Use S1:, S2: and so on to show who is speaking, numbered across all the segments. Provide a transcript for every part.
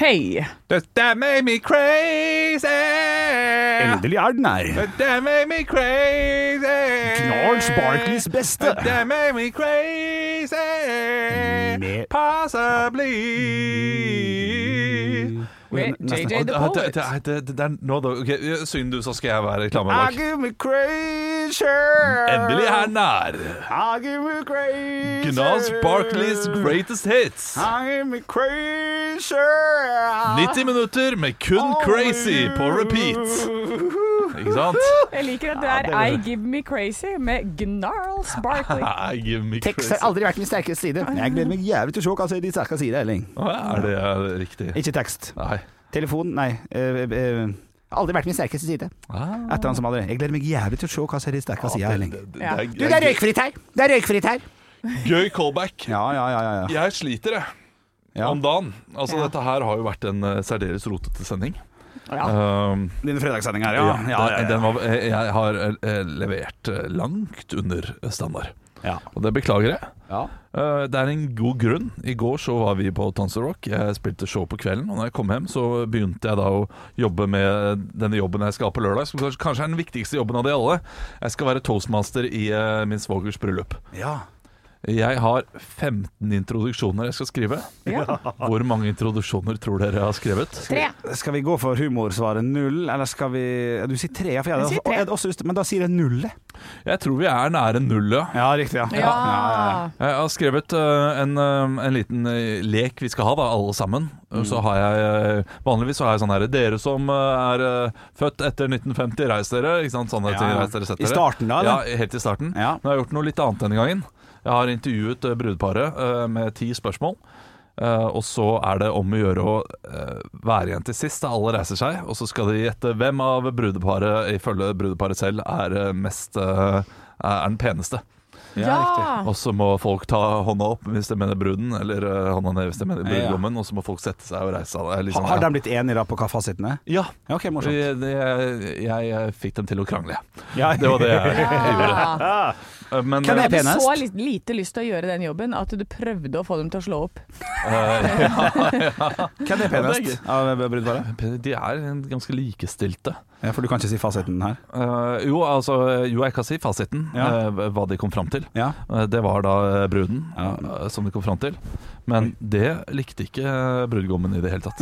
S1: Hei!
S2: That made me crazy.
S3: Endelig er den her.
S2: That made me crazy.
S3: Gnarls Barkleys beste.
S2: That made me crazy.
S3: Med-
S2: Possibly.
S1: Med JJ the
S2: Og- det-
S1: Poet.
S2: det- det- det- det er nå, da. Ok, Syng du, så skal jeg være reklame
S3: I
S2: bak.
S3: give me crazy.
S2: Endelig er den her.
S3: I give me crazy.
S2: Gnars Barkleys greatest hits.
S3: I give me crazy.
S2: 90 minutter med kun crazy på repeat. Ikke sant?
S1: Jeg liker at det er I Give Me Crazy med Gnarls Barkley.
S2: I give me
S3: Tekst
S2: crazy.
S3: har aldri vært min sterke side. Men Jeg gleder meg jævlig til å se hva de sterke sider Elling.
S2: Å, Er det er det riktig?
S3: Ikke tekst.
S2: Nei.
S3: Telefon, nei. eh, eh, aldri vært min sterkeste side. Etter han som aldri. Jeg gleder meg jævlig til å se hva som er de sterke sider Elling.
S2: Ah, Det- det-
S1: Ja.
S2: det er-
S3: Du, det er røykfritt her! Det er røykfritt her!
S2: Gøy callback.
S3: Ja, ja, ja. ja, ja.
S2: Jeg sliter, jeg.
S3: Ja.
S2: Om dagen. Altså,
S1: Ja.
S2: Dette her har jo vært en eh, særdeles rotete sending.
S1: Ja.
S2: Um,
S3: Dine fredagssendinger,
S2: ja,
S3: ja. Ja,
S2: den-
S3: ja,
S2: Den
S3: ja.
S2: var, eh, jeg har eh, levert eh, langt under eh, standard,
S3: ja.
S2: og det beklager jeg.
S3: ja.
S2: Eh, Det er en god grunn. I går så var vi på Tanser Rock. Jeg spilte show på kvelden. Og når jeg kom hjem, så begynte jeg da å jobbe med denne jobben jeg skal ha på lørdag. Som kanskje- kanskje er den viktigste jobben av de alle. Jeg skal være toastmaster i eh, min svogers bryllup.
S3: ja.
S2: Jeg har 15 introduksjoner jeg skal skrive.
S1: Ja.
S2: Hvor mange introduksjoner tror dere jeg har skrevet?
S1: Tre.
S3: Skal vi gå for humorsvaret null, eller skal vi Du sier tre, ja, for jeg
S1: Du sier
S3: hadde
S1: tre.
S3: jeg hadde også lyst til Men da sier jeg null, jeg.
S2: Jeg tror vi er nære null, ja.
S3: Ja, riktig, ja.
S1: Ja.
S2: Jeg har skrevet eh, en, eh, en liten eh, lek vi skal ha, da, alle sammen.
S3: Mm.
S2: Og Så har jeg, eh, vanligvis så har jeg sånn her Dere som eh, er eh, født etter 1950, reis dere. Ikke sant? Sånne
S3: Ja,
S2: ting.
S3: ja.
S2: Reis dere, sett
S3: I
S2: dere.
S3: starten da,
S2: Ja,
S3: eller?
S2: helt i starten.
S3: Ja.
S2: Men jeg har gjort noe litt annet denne gangen. Jeg har intervjuet eh, brudeparet eh, med ti spørsmål. Eh, og så er det om å gjøre å eh, være igjen til sist da alle reiser seg. Og så skal de gjette hvem av brudeparet, ifølge brudeparet selv, er eh, mest eh, er den peneste.
S1: Ja.
S2: Og så må folk ta hånda opp hvis de mener bruden, eller eh, hånda ned hvis de mener brudgommen, og så må folk sette seg og reise seg. Det er litt
S3: Har,
S2: sånn,
S3: har
S2: ja.
S3: de blitt enige da på hva fasiten er?
S2: Ja.
S3: Liksom, Ja, ok, morsomt.
S2: Jeg, jeg, jeg fikk dem til å krangle.
S3: Ja.
S2: Det var det jeg gjorde.
S1: Ja.
S2: Eh, Men,
S3: Hvem er
S1: Du
S3: penest?
S1: så litt, lite lyst til å gjøre den jobben at du prøvde å få dem til å slå opp.
S2: eh,
S3: Hvem er
S2: Ja, det
S3: penest av brudeparet?
S2: eh, De er ganske likestilte.
S3: Ja, for du kan ikke si fasiten her.
S2: Eh, jo, altså, jo, jeg kan si fasiten,
S3: Ja.
S2: eh, hva de kom fram til.
S3: Ja.
S2: Eh, det var da eh, bruden
S3: Ja.
S2: eh, som de kom fram til. Men det likte ikke eh, brudgommen i det hele tatt.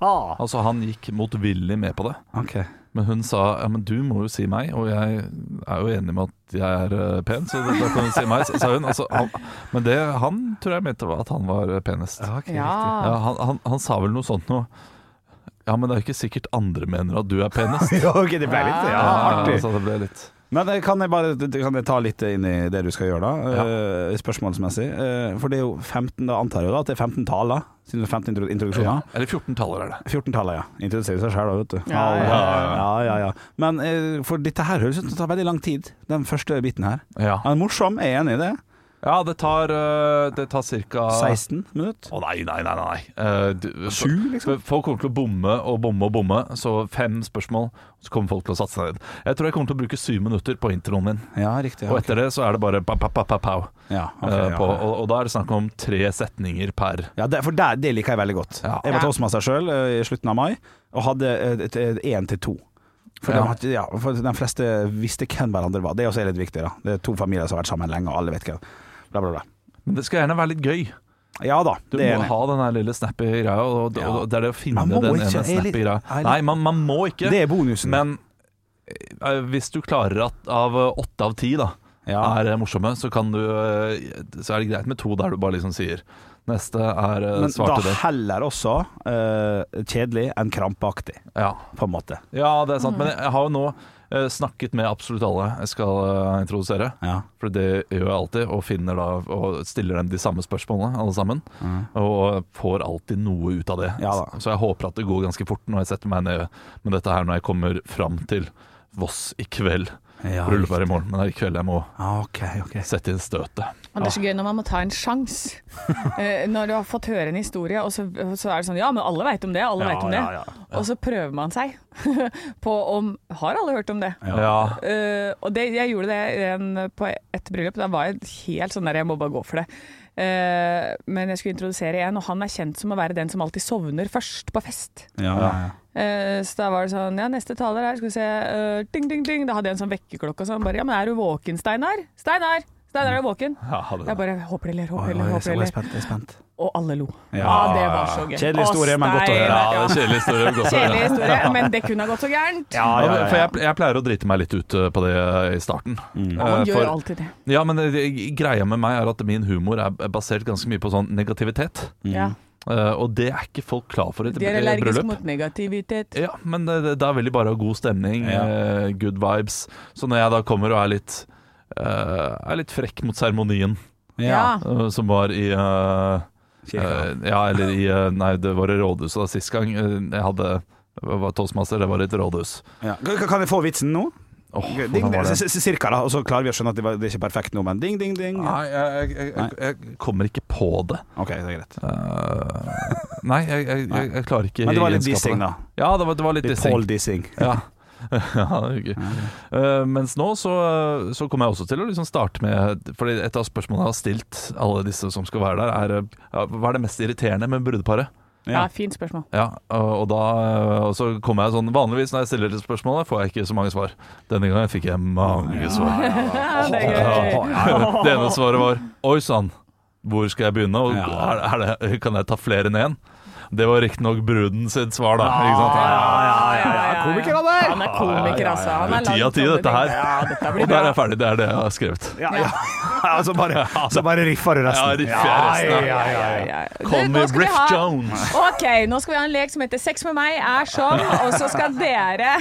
S2: altså, han gikk motvillig med på det.
S3: Ok.
S2: Men hun sa ja, men du må jo si meg, og jeg er jo enig med at jeg er eh, pen, så da kan hun si meg, sa hun. Altså, han, men det, han tror jeg mente var at han var eh, penest. Ja,
S1: Ja.
S2: han, han, han sa vel noe sånt noe Ja, men det er jo ikke sikkert andre mener at du er penest.
S3: Ja, ok, det ble litt ja, altså,
S2: Ja,
S3: artig.
S2: så det ble litt
S3: Men eh, kan jeg bare kan jeg ta litt inn i det du skal gjøre, da? eh, Spørsmålsmessig. Eh, For det er jo 15, da antar jeg da at det er 15 taler, siden det er 15 introdu- introduksjoner.
S2: Eller 14 taller er det.
S3: 14-tallet, ja. Introduserer seg sjøl, vet du. Ja
S1: Ja, ja,
S3: ja, ja. Men eh, for dette her høres ut som det tar veldig lang tid, den første biten her.
S2: Ja,
S3: Han er morsom, jeg er enig i det.
S2: ja det tar eh, Det tar ca.
S3: 16 minutter.
S2: Å nei, nei, nei. nei. Eh, du-
S3: Sju, liksom?
S2: Folk kommer til å bomme og bomme og bomme, så fem spørsmål, så kommer folk til å satse ned. Jeg tror jeg kommer til å bruke syv minutter på introen min.
S3: Ja, riktig.
S2: Og
S3: Ja,
S2: etter det så er det bare pa, pa, pa, pa, pow.
S3: ja, ok,
S2: Eh,
S3: ja.
S2: på, og, og da er det snakk om tre setninger per
S3: ja det, for det, det liker jeg veldig godt.
S2: Ja.
S3: Jeg var
S1: Ja.
S3: toastmaster sjøl eh, i slutten av mai, og hadde én til to. For,
S2: Ja.
S3: de, hadde- ja, for de fleste visste hvem hverandre var. Det er også litt viktig. da Det er to familier som har vært sammen lenge, og alle vet hvem. Bla, bla, bla.
S2: Men det skal gjerne være litt gøy.
S3: Ja da,
S2: Du
S3: det er
S2: må
S3: enig.
S2: ha den der lille snappy greia, og, og, og det er det å finne
S3: Man må
S2: den ene
S3: ikke, jeg er litt-
S2: snappy greia.
S3: jeg er litt-
S2: Nei, man, man må ikke,
S3: Det er bonusen.
S2: men eh, hvis du klarer at av eh, åtte av ti da,
S3: Ja.
S2: er eh, morsomme, så, kan du, eh, så er det greit med to der du bare liksom sier Neste er eh,
S3: Men da
S2: svarte det.
S3: heller også eh, kjedelig enn krampaktig,
S2: Ja.
S3: på en måte.
S2: ja, det er sant.
S3: Mm.
S2: Men jeg- jeg har jo nå eh, snakket med absolutt alle jeg skal eh, introdusere.
S3: Ja.
S2: For det gjør jeg alltid, og finner da og stiller dem de samme spørsmålene, alle sammen. Og eh, får alltid noe ut av det.
S3: Mm. Ja da.
S2: Så jeg håper at det går ganske fort når jeg setter meg ned med dette her når jeg kommer fram til Voss i kveld.
S3: Ja,
S2: Bryllup er i morgen, men det er i kveld jeg må
S3: Ah, OK, OK.
S2: sette inn støtet.
S1: Og det er så gøy når man må ta en sjanse. Eh, når du har fått høre en historie, og så, så er det sånn Ja, men alle veit om det, alle vet om det. Og så prøver man seg på om Har alle hørt om det?
S2: Ja.
S1: Eh, og det, jeg gjorde det en, på et bryllup. Da var jeg helt sånn der Jeg må bare gå for det. Eh, men jeg skulle introdusere en, og han er kjent som å være den som alltid sovner først på fest.
S3: Ja, ja, ja.
S1: Eh, så da var det sånn Ja, neste taler her, skal vi se eh, Ding, ding, ding. Da hadde jeg en sånn vekkerklokke og sånn. Bare, ja, men er du våken, Steinar? Steinar! Steinar, er du våken?
S2: Ja, det,
S1: Jeg bare håper de ler,
S3: Oi,
S1: håper de
S3: oi,
S1: ler,
S3: jeg
S1: håper de
S3: er
S1: ler.
S3: spent. Jeg er spent.
S1: Og alle lo.
S3: Ja.
S1: Ja, det var så gøy.
S3: Kjedelig historie,
S1: Å,
S3: men godt å høre.
S1: Steinar,
S2: ja,
S1: ja.
S2: det er kjedelig historie. men godt å høre.
S1: Kjedelig historie, men det kunne ha gått så gærent.
S3: Ja, ja,
S2: For
S3: ja, ja.
S2: jeg, jeg pleier å drite meg litt ut eh, på det i starten.
S3: Mm.
S2: Eh,
S1: Man gjør
S2: for-
S1: alltid det.
S2: ja, men det- det- greia med meg er at min humor er basert ganske mye på sånn negativitet.
S3: Mm.
S1: Ja.
S2: Eh, og det er ikke folk klar for i et
S1: De er
S2: br- eh,
S1: allergiske
S2: bryllup.
S1: mot negativitet.
S2: Ja, men eh, det, det- det er veldig bare god stemning,
S3: Ja.
S2: eh, good vibes. Så når jeg da kommer og er litt, eh, er litt frekk mot seremonien,
S1: Ja.
S2: eh, som var i eh,
S3: Kirka.
S2: eh, Ja, eller i eh, Nei, det var i rådhuset da sist gang. eh, jeg hadde jeg var toastmaster, det var i et rådhus.
S3: Ja. Kan kan jeg få vitsen nå?
S2: Åh,
S3: Ding,
S2: hvordan var
S3: ding,
S2: det?
S3: c- c- cirka, da. Og så klarer vi å skjønne at det, var, det er ikke perfekt nå, men ding, ding, ding.
S2: Nei, jeg, jeg, jeg, jeg kommer ikke på det.
S3: OK, det er greit.
S2: Eh, nei, jeg, jeg, jeg, jeg klarer ikke
S3: Men det var litt
S2: egenskapene.
S3: dissing, da.
S2: Ja, det var, det var litt
S3: Litt
S2: dissing.
S3: Paul dissing.
S2: Ja, ja det er hyggelig. Eh, mens nå så, så kommer jeg også til å liksom starte med Fordi et av spørsmålene jeg har stilt alle disse som skal være der, er eh, ja, hva er det mest irriterende med brudeparet?
S1: Ja,
S3: Ja.
S1: fint spørsmål.
S2: Ja, og, og da eh, og så kommer jeg sånn Vanligvis når jeg stiller det spørsmålet, får jeg ikke så mange svar. Denne gangen fikk jeg mange svar.
S1: det er gøy.
S2: Det ene svaret var Oi sann, hvor skal jeg begynne? Og
S3: Ja.
S2: er, er det, kan jeg ta flere enn én? Det var riktignok bruden sitt svar, da. Ikke sant?
S3: Komiker, da, der!
S1: Han er komiker, altså. Han er
S2: Det er ti av
S1: langt
S2: ti,
S1: over
S2: dette her.
S1: Ja, dette
S2: Og
S1: blir
S2: der er
S1: bra.
S2: jeg ferdig. Det er det jeg har skrevet.
S3: Ja, ja. så, bare, så bare riffer du resten.
S2: Altså, Ja, riffer jeg resten,
S3: Ja, ja, ja, ja.
S1: Ja, ja.
S2: Call
S1: Du,
S2: me
S1: nå skal vi
S2: Riff
S1: ha-
S2: Jones.
S1: Ok, nå skal vi ha en lek som heter Sex med meg er som, og så skal dere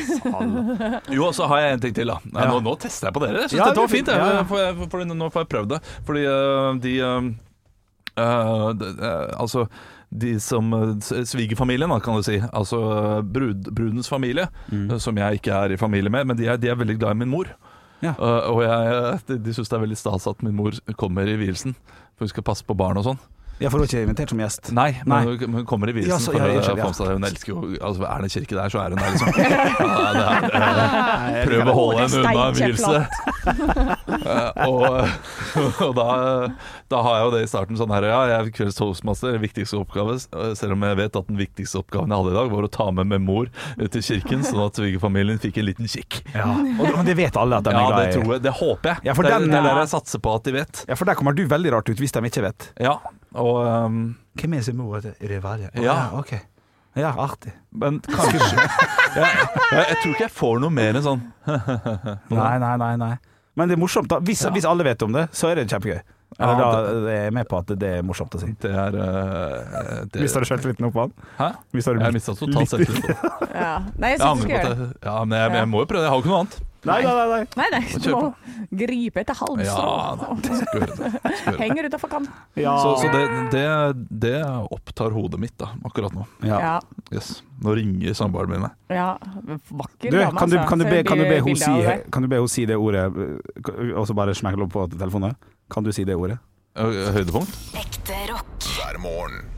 S2: Jo, og så har jeg en ting til, da. Nei, nå, nå tester jeg på dere. Jeg synes
S3: Ja,
S2: dette var
S3: det er
S2: fint.
S3: fint, ja, ja.
S2: Jeg, for, jeg- for, nå får jeg prøvd det. Fordi øh, de øh, øh, de- øh, Altså de som øh, s- Svigerfamilien, da, kan du si. Altså øh, brud, brudens familie,
S3: Mm.
S2: øh, som jeg ikke er i familie med. Men de er, de er veldig glad i min mor.
S3: Ja.
S2: Øh, og jeg, de, de syns det er veldig stas at min mor kommer i vielsen. For hun skal passe på barn og sånn.
S3: Ja, for du er ikke invitert som gjest?
S2: Nei, men
S3: Nei.
S2: hun- hun kommer i vielsen.
S3: Ja, så-
S2: for
S3: ja,
S2: å-
S3: jeg skjønner, ja.
S2: for seg, hun elsker jo altså, Er det en kirke der, så er hun der, liksom. Ja, det er, eh, prøv å holde henne unna en vielse. Eh, og og da, da har jeg jo det i starten sånn her Ja, jeg er kveldens toastmaster, viktigste oppgave. eh, Selv om jeg vet at den viktigste oppgaven jeg hadde i dag, var å ta med min mor ut til kirken, sånn at svigerfamilien fikk en liten kikk.
S3: Ja. Og, men det vet alle at de er
S2: Ja,
S3: glad i.
S2: det tror jeg. Det håper jeg.
S3: Ja, for
S2: det, er-
S3: den-
S2: det er det jeg satser på at de vet.
S3: Ja, for der kommer du veldig rart ut hvis de ikke vet.
S2: Ja, og ehm,
S3: Hvem er det som er rivalet?
S2: Ja.
S3: ok. Ja, artig.
S2: Men kanskje jeg, jeg, jeg tror ikke jeg får noe mer enn sånn
S3: Nei, nei, nei, nei. Men det er morsomt. da Hvis, hvis alle vet om det, så er det kjempegøy. Eller
S2: Ja,
S3: da er jeg med på at det er morsomt å si.
S2: Det er eh, det,
S3: Mister du sjøltilliten oppå han?
S2: Hæ?
S3: Mister
S2: Jeg mista totalt
S3: Litt-
S2: selvtillit.
S1: Ja. Nei, jeg syns
S2: Jeg
S1: du
S2: angrer
S1: skal
S2: på at
S1: gjøre det.
S2: jeg Ja, men jeg, jeg må jo prøve. Jeg har jo ikke noe annet.
S3: Nei, nei, nei. nei.
S1: Nei, nei, du må gripe etter
S2: Ja,
S1: halmstrå.
S2: da, jeg skal gjøre det. Jeg skal gjøre det.
S1: Henger utafor kanten.
S3: Ja.
S2: Så, så det, det, det opptar hodet mitt da, akkurat nå.
S3: ja.
S1: Ja.
S2: Yes. Nå ringer samboeren min. meg.
S1: ja. Vakker
S3: Du,
S1: dame,
S3: kan du,
S1: altså.
S3: kan du,
S1: Så
S3: be,
S1: det
S3: kan du,
S1: blir
S3: be, hun
S1: bilde
S3: si,
S1: av deg.
S3: kan du be hun si det ordet, øh, og så bare smekk opp på telefonen? Kan du si det ordet?
S2: Ø, ø, Eh, Høydepunkt?
S4: Ekte rock.
S5: hver morgen.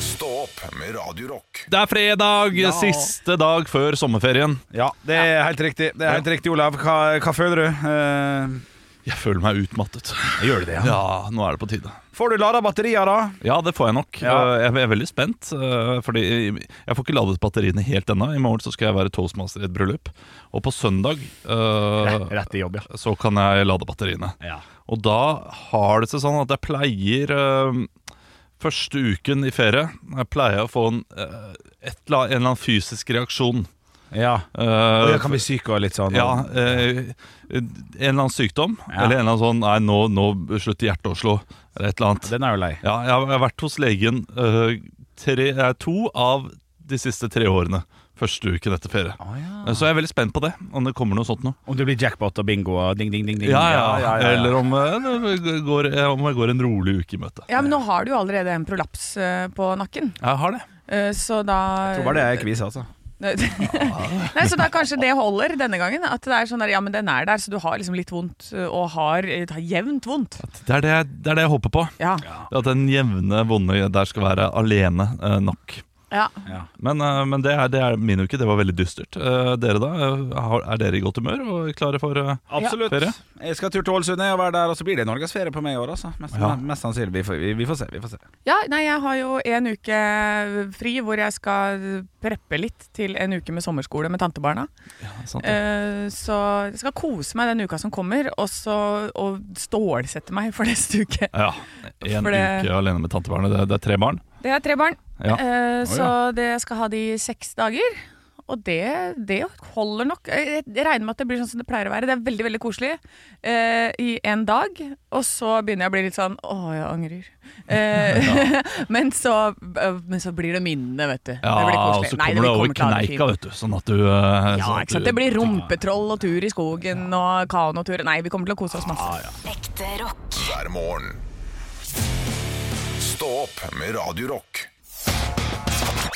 S5: Stå opp med Radio Rock.
S2: Det er fredag! Siste dag før sommerferien.
S3: Ja, det er helt riktig. Det er helt riktig, Olav. Hva, hva føler du? Eh,
S2: Jeg føler meg utmattet.
S3: gjør du det,
S2: Ja, nå er det på tide.
S6: Får du lada batterier, da?
S2: Ja, det får jeg nok.
S6: Ja.
S2: Eh, Jeg er veldig spent, eh, fordi jeg får ikke ladet batteriene helt ennå. I morgen så skal jeg være toastmaster i et bryllup, og på søndag eh,
S3: Rett i jobb, ja.
S2: så kan jeg lade batteriene.
S3: ja.
S2: Og da har det seg sånn at jeg pleier eh, Første uken i ferie Jeg pleier å få en, eh, et, la- en eller annen fysisk reaksjon.
S6: Ja.
S2: Eh,
S6: Og jeg kan bli syk og litt sånn.
S2: ja, eh, en eller annen sykdom.
S6: Ja.
S2: Eller en eller annen sånn Nei, nå, nå slutter hjertet å slå. Eller et eller annet.
S6: Den er jo lei.
S2: Ja, jeg har, jeg har vært hos legen eh, tre, eh, to av de siste tre årene. Første uken etter ferie. Eh, Så jeg er veldig spent på det, om det kommer noe sånt noe.
S6: Om det blir jackpot og bingo og ding, ding, ding. ding.
S2: Ja, ja, Eller om, eh, det går, eh, om jeg går en rolig uke i møte.
S1: Ja, men nå har du jo allerede en prolaps eh, på nakken,
S2: Jeg har det.
S1: Eh, så da
S6: Jeg tror bare det er kvise, altså.
S1: Nei, så da kanskje det holder denne gangen. At det er sånn der, ja, men den er der, så du har liksom litt vondt, og har, det har jevnt vondt.
S2: Det er det, jeg- det er det jeg håper på.
S1: Ja.
S2: At den jevne vonde der skal være alene eh, nok.
S1: ja.
S2: Men, eh, men det, er, det er min uke. Det var veldig dystert. Eh, dere, da? eh, har- Er dere i godt humør og klare for eh,
S6: Absolutt.
S2: ferie?
S6: Jeg skal tur til Ålesund jeg, og være der, og så blir det norgesferie på meg i år, altså. Mest,
S2: Ja.
S6: mest sannsynlig. Vi får, vi, vi får se. Vi får se.
S1: Ja, nei, jeg har jo en uke eh, fri hvor jeg skal eh, preppe litt til en uke med sommerskole med tantebarna.
S2: Sant, ja.
S1: Eh, så jeg skal kose meg den uka som kommer, og så og stålsette meg for neste uke.
S2: Ja. En
S1: For det-
S2: uke alene med tantebarnet. Det, det er tre barn.
S1: Det er tre barn,
S2: Ja.
S1: eh, så det jeg skal ha de i seks dager. Og det, det holder nok. Jeg jeg regner med at det blir sånn som det pleier å være. Det er veldig veldig koselig eh, i en dag, og så begynner jeg å bli litt sånn Å, jeg angrer. Eh, men, så, eh, men så blir det minnene, vet du. det blir
S2: Ja, og
S1: koselig.
S2: så
S1: Nei,
S2: kommer du
S1: vi
S2: over
S1: til å ha det fint.
S2: kneika, vet du. Sånn at du eh,
S1: Ja,
S2: sånn at
S1: ikke sant?
S2: du-
S1: Det blir rumpetroll og tur i skogen og kanotur. Nei, vi kommer til å kose oss masse.
S7: Ekte rock.
S8: hver morgen. Stå opp med Radio Rock.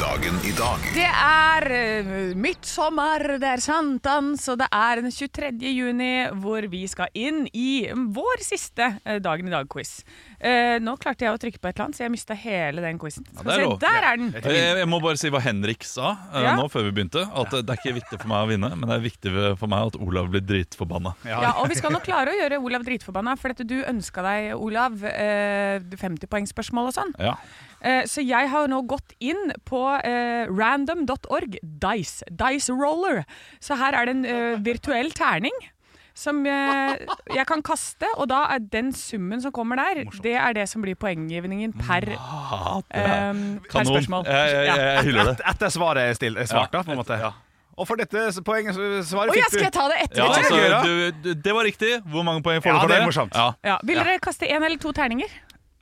S8: Dagen i dag
S1: Det er uh, midtsommer, det er sankthans, og det er den 23. juni hvor vi skal inn i vår siste eh, Dagen i dag-quiz. Eh, nå klarte jeg å trykke på et eller annet, så jeg mista hele den quizen.
S2: det er lov.
S1: der er den!
S2: Eh, Jeg, jeg må bare si hva Henrik sa eh,
S1: Ja.
S2: nå før vi begynte. At eh, Det er ikke viktig for meg å vinne, men det er viktig for meg at Olav blir dritforbanna.
S1: Ja, og vi skal nok klare å gjøre Olav dritforbanna, for at du ønska deg, Olav, eh, 50-poengsspørsmål og sånn.
S2: Ja.
S1: Eh, Så jeg har nå gått inn på eh, random.org, Dice, Dice Roller. Så her er det en eh, virtuell terning som eh, jeg kan kaste, og da er den summen som kommer der, det er det som blir poenggivningen per, eh, per
S2: Mm. Kanon.
S1: spørsmål.
S2: Jeg, jeg, jeg, jeg hyller det.
S3: Et, etter svaret er stilt, er svart, da, på en måte. Og for dette s- poenget s- svaret
S1: Å ja,
S3: fikk
S1: skal jeg
S3: du.
S1: ta det etter?
S2: Ja,
S3: det er
S2: altså,
S3: gøy, da.
S2: du, du, det var riktig. Hvor mange poeng får
S3: Ja,
S2: du for
S3: det
S2: det?
S3: er morsomt.
S2: Ja.
S1: Ja, vil dere kaste én eller to terninger?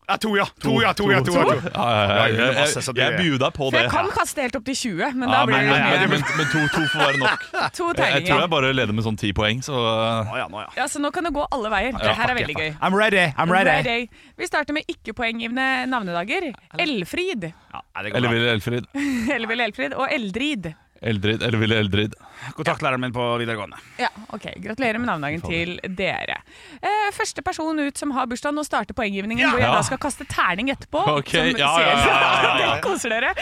S3: Ja, to, ja. To, ja. To, ja. To, ja. To,
S2: Ja, ja, ja,
S3: Ja, jeg
S2: jeg
S3: hyller
S2: jeg,
S3: masse, så
S2: jeg,
S3: du-
S2: bjuder deg på
S1: For
S2: det.
S1: jeg kan kaste helt opp til 20, men da
S2: Ja,
S1: blir
S2: men,
S1: det
S2: men,
S1: mye.
S2: men, men to, to får være nok.
S1: To
S2: Jeg, jeg tror jeg
S1: terninger.
S2: bare leder med sånn ti poeng, så eh,
S3: Å, ja, nå, ja.
S1: Ja, så nå kan det gå alle veier. Det her er veldig gøy.
S3: I'm ready. I'm ready.
S2: eh?
S1: Friday. Vi starter med ikke-poenggivende navnedager. Elfrid.
S3: Ja, nei, det går
S2: Eller
S3: bra.
S2: ville Elfrid.
S1: Elvild Elfrid og Eldrid.
S2: Eldrid. Eller ville Eldrid.
S3: Kontaktlæreren min på videregående.
S1: Ja, ok. Gratulerer med navnedagen til dere. Eh, første person ut som har bursdag. Nå starter poenggivningen, hvor jeg
S2: Ja.
S1: da skal kaste terning etterpå.
S2: Ok,
S1: som
S2: ja, ja, ja, ja, ja.
S1: Dere koser dere.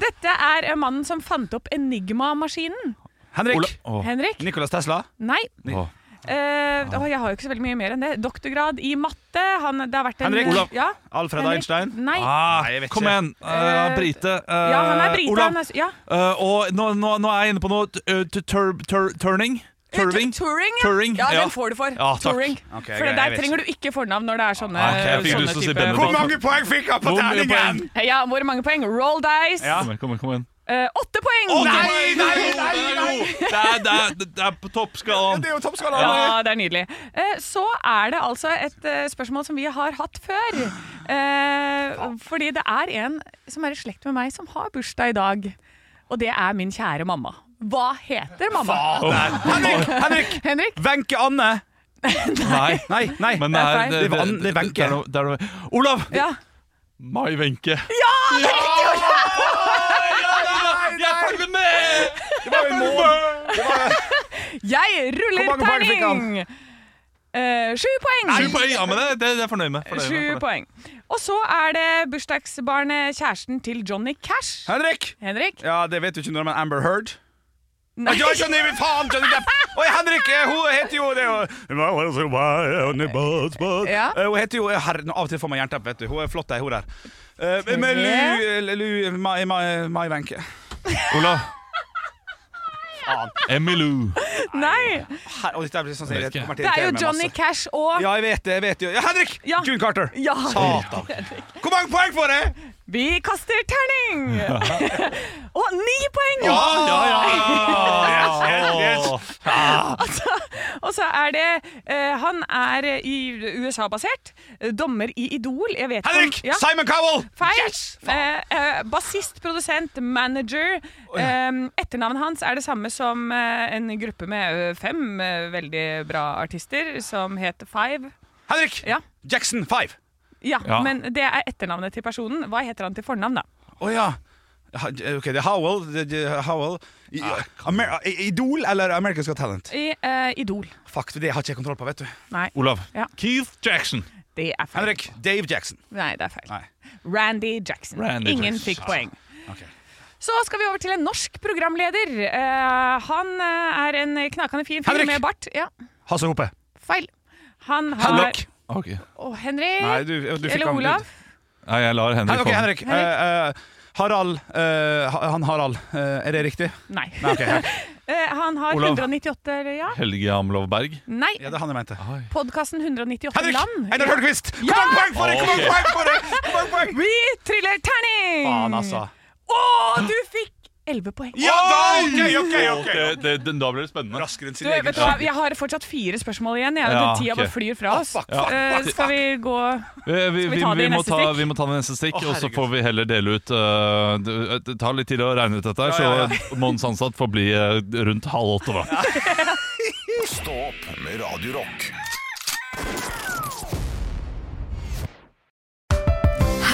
S1: Dette er eh, mannen som fant opp enigma-maskinen.
S3: Henrik.
S2: Åh.
S1: Henrik?
S3: Nicholas Tesla.
S1: Nei.
S2: Åh.
S1: Eh, å, jeg har jo ikke så veldig mye mer enn det. Doktorgrad i matte. Han, det har vært en
S3: Henrik Olav.
S1: Ja,
S3: Alfred
S1: Henrik.
S3: Einstein.
S1: Nei.
S2: Ah,
S3: Nei, jeg vet
S2: kom
S3: ikke.
S2: igjen, eh, brite. eh,
S1: Ja, han er brite.
S2: Olav,
S1: han er- Ja.
S2: eh, og nå, nå, nå er jeg inne på noe t- eh, t- tur, Eh, tur, turning. Turving.
S1: Turing, ja.
S2: Turing,
S1: ja.
S2: ja.
S1: Den får du for.
S2: Ja, takk.
S1: Turing.
S3: Ok,
S1: for
S3: greit, jeg
S1: der
S3: vet
S1: trenger du ikke fornavn når det er sånne,
S2: Ok, jeg fikk lyst
S1: sånne
S2: til å si
S1: type
S2: Benedikt.
S3: Hvor mange poeng fikk han på
S2: Hvor mye
S3: terningen?
S2: poeng?
S1: Ja, hvor mange poeng? Roll dice.
S3: Ja.
S2: Kom igjen, kom igjen, kom igjen.
S1: Eh, åtte poeng!
S2: nei, nei! Det er, det er, det er på toppskalaen.
S3: Det er jo toppskala.
S1: Ja, det er nydelig. Eh, så er det altså et eh, spørsmål som vi har hatt før. Eh, fordi det er en som er i slekt med meg, som har bursdag i dag. Og det er min kjære mamma. Hva heter mamma?
S3: Henrik! Henrik!
S1: Henrik?
S3: Wenche Anne.
S2: Nei,
S3: Nei, nei.
S2: men det er,
S1: feil.
S2: det,
S3: Det var- det er Wenche.
S2: det er noe- det er noe- Olav!
S1: Ja.
S2: Mai Wenche. Ja, det er riktig! Jeg følger med!
S3: Det var jo en måned.
S1: Jeg ruller
S3: Hvor mange poeng fikk han?
S1: terning! Eh, Sju poeng!
S2: Sju poeng. Ja, men det, det, det er jeg fornøyd med. Fornøyd med,
S1: Sju
S2: fornøyd med.
S1: poeng. Og så er det bursdagsbarnet, kjæresten til Johnny Cash.
S3: Henrik!
S1: Henrik?
S3: Ja, det vet du ikke når, men Amber Heard.
S1: Nei.
S3: Jeg skjønner ikke faen! Johnny Depp. Oi, Henrik, eh, hun heter jo det og-
S1: Ja.
S3: Eh, Hun heter jo herre, nå Av og til får man jernteppe, vet du. Hun er flott, ei hore her. Eh, Men Lu, Lu Mai, Mai, Mai Wenche.
S2: Ola. Emilu.
S1: Nei!
S3: Her- og dette blir sånn som jeg
S2: Jeg vet ikke.
S3: kommer til
S1: Det
S3: å
S1: er jo
S3: irritere meg
S1: Johnny
S3: masse.
S1: Cash og
S3: altså. Ja, jeg vet det. jeg vet jo ja, Henrik!
S1: Ja.
S3: June Carter.
S1: Ja.
S3: Satan. Hvor mange poeng får jeg?
S1: Vi kaster terning! og ni poeng!
S3: Yes, yes, yes.
S1: Og så er det eh, Han er i USA-basert. eh, Dommer i Idol. Jeg vet ikke om-
S3: Henrik!
S1: Ja.
S3: Simon Cowell!
S1: Feil! Eh, eh, bassist, produsent, manager. Eh, etternavnet hans er det samme som eh, en gruppe med eh, fem eh, veldig bra artister som heter Five.
S3: Henrik!
S1: Ja.
S3: Jackson 5.
S1: Ja,
S2: Ja.
S1: men det er etternavnet til personen. Hva heter han til fornavn, da?
S3: Å ja. Ha- Ok, det er Howell. Det det er Howell. I, eh, Amer I- Idol eller America's Got Talent?
S1: I eh, Idol.
S3: Fuck, det har ikke jeg kontroll på, vet du.
S1: Nei,
S2: Olav.
S1: Ja.
S2: Keith Jackson.
S1: det er feil.
S3: Henrik, Dave Jackson.
S1: Nei, det er feil.
S3: Nei.
S1: Randy Jackson.
S2: Randy
S1: Ingen
S2: Jackson.
S1: fikk poeng.
S3: Ok.
S1: Så skal vi over til en norsk programleder. Eh, han eh, er en knakende fin fyr
S3: Henrik!
S1: med bart. Ja,
S3: Hasse Hope.
S1: feil. Han har
S3: Henrik.
S2: Ok.
S1: Å, Henrik.
S3: Nei, du, du fikk
S1: Eller
S3: han-
S1: Olav.
S2: Nei, jeg lar
S3: Hen
S2: Henrik
S3: ok,
S2: komme.
S3: Henrik. Eh, eh, Harald eh, ha- Han Harald. Eh, er det riktig?
S1: Nei.
S3: Nei, ok, Henrik.
S1: Eh, han har
S2: Olav.
S1: 198 eller ja?
S2: Helge Hamlov Berg.
S1: Nei.
S3: Ja, det er han jeg mente.
S1: Podkasten 198
S3: Henrik!
S1: land.
S3: Einar Tørnquist! Hvor mange poeng får jeg? Hvor mange poeng får jeg? Hvor mange poeng?
S1: Vi triller terning!
S3: Faen, altså.
S1: Å, du fikk 11 poeng.
S3: Ja da! Ok, ok, ok.
S2: Det- det- den- da blir det spennende.
S3: Raskere enn
S1: Du,
S3: sin
S1: vet
S3: egen
S1: du hva? Jeg har fortsatt fire spørsmål igjen. Jeg,
S2: Ja,
S1: Tida
S2: ok.
S1: bare flyr fra oss.
S3: Ah, fuck, fuck,
S1: Eh,
S3: fuck,
S1: skal vi gå
S2: Vi, vi,
S1: Skal vi
S2: vi,
S1: ta det i
S2: må
S1: neste
S2: ta,
S1: stikk?
S2: vi må ta det neste stikk,
S3: Å,
S2: og så
S3: herregud.
S2: får vi heller dele ut øh, det- Det tar litt tid å regne ut dette, her,
S3: Ja, ja,
S2: så Mons ansatt får bli øh, rundt halv åtte. Da.
S8: Stå opp med Radio Rock.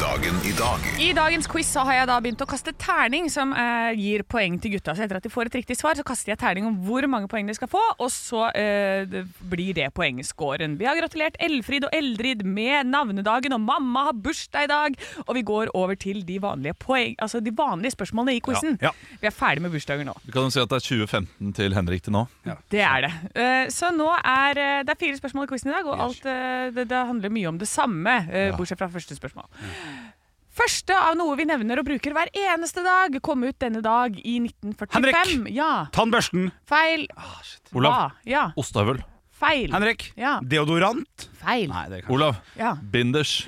S8: Dagen i dag
S1: I dagens quiz så har jeg da begynt å kaste terning, som eh, gir poeng til gutta. Så etter at de får et riktig svar, så kaster jeg terning om hvor mange poeng de skal få, og så eh, det blir det poengscoren. Vi har gratulert Elfrid og Eldrid med navnedagen, og mamma har bursdag i dag. Og vi går over til de vanlige, poeng, altså de vanlige spørsmålene i quizen.
S3: Ja, ja.
S1: Vi er ferdig med bursdager nå.
S2: Vi kan jo si at det er 2015 til Henrik til nå.
S1: Det er det. Eh, så nå er eh, det er fire spørsmål i quizen i dag, og alt, eh, det, det handler mye om det samme, eh, bortsett fra første spørsmål. Første av noe vi nevner og bruker hver eneste dag, kom ut denne dag i 1945.
S3: Henrik!
S1: Ja.
S3: Tannbørsten.
S1: Feil.
S2: Olav.
S1: Hva? Ja.
S2: Ostehøvel.
S1: Feil.
S3: Henrik.
S1: Ja.
S3: Deodorant.
S1: Feil.
S3: Nei, det kan
S2: Olav.
S1: Ja.
S2: Binders.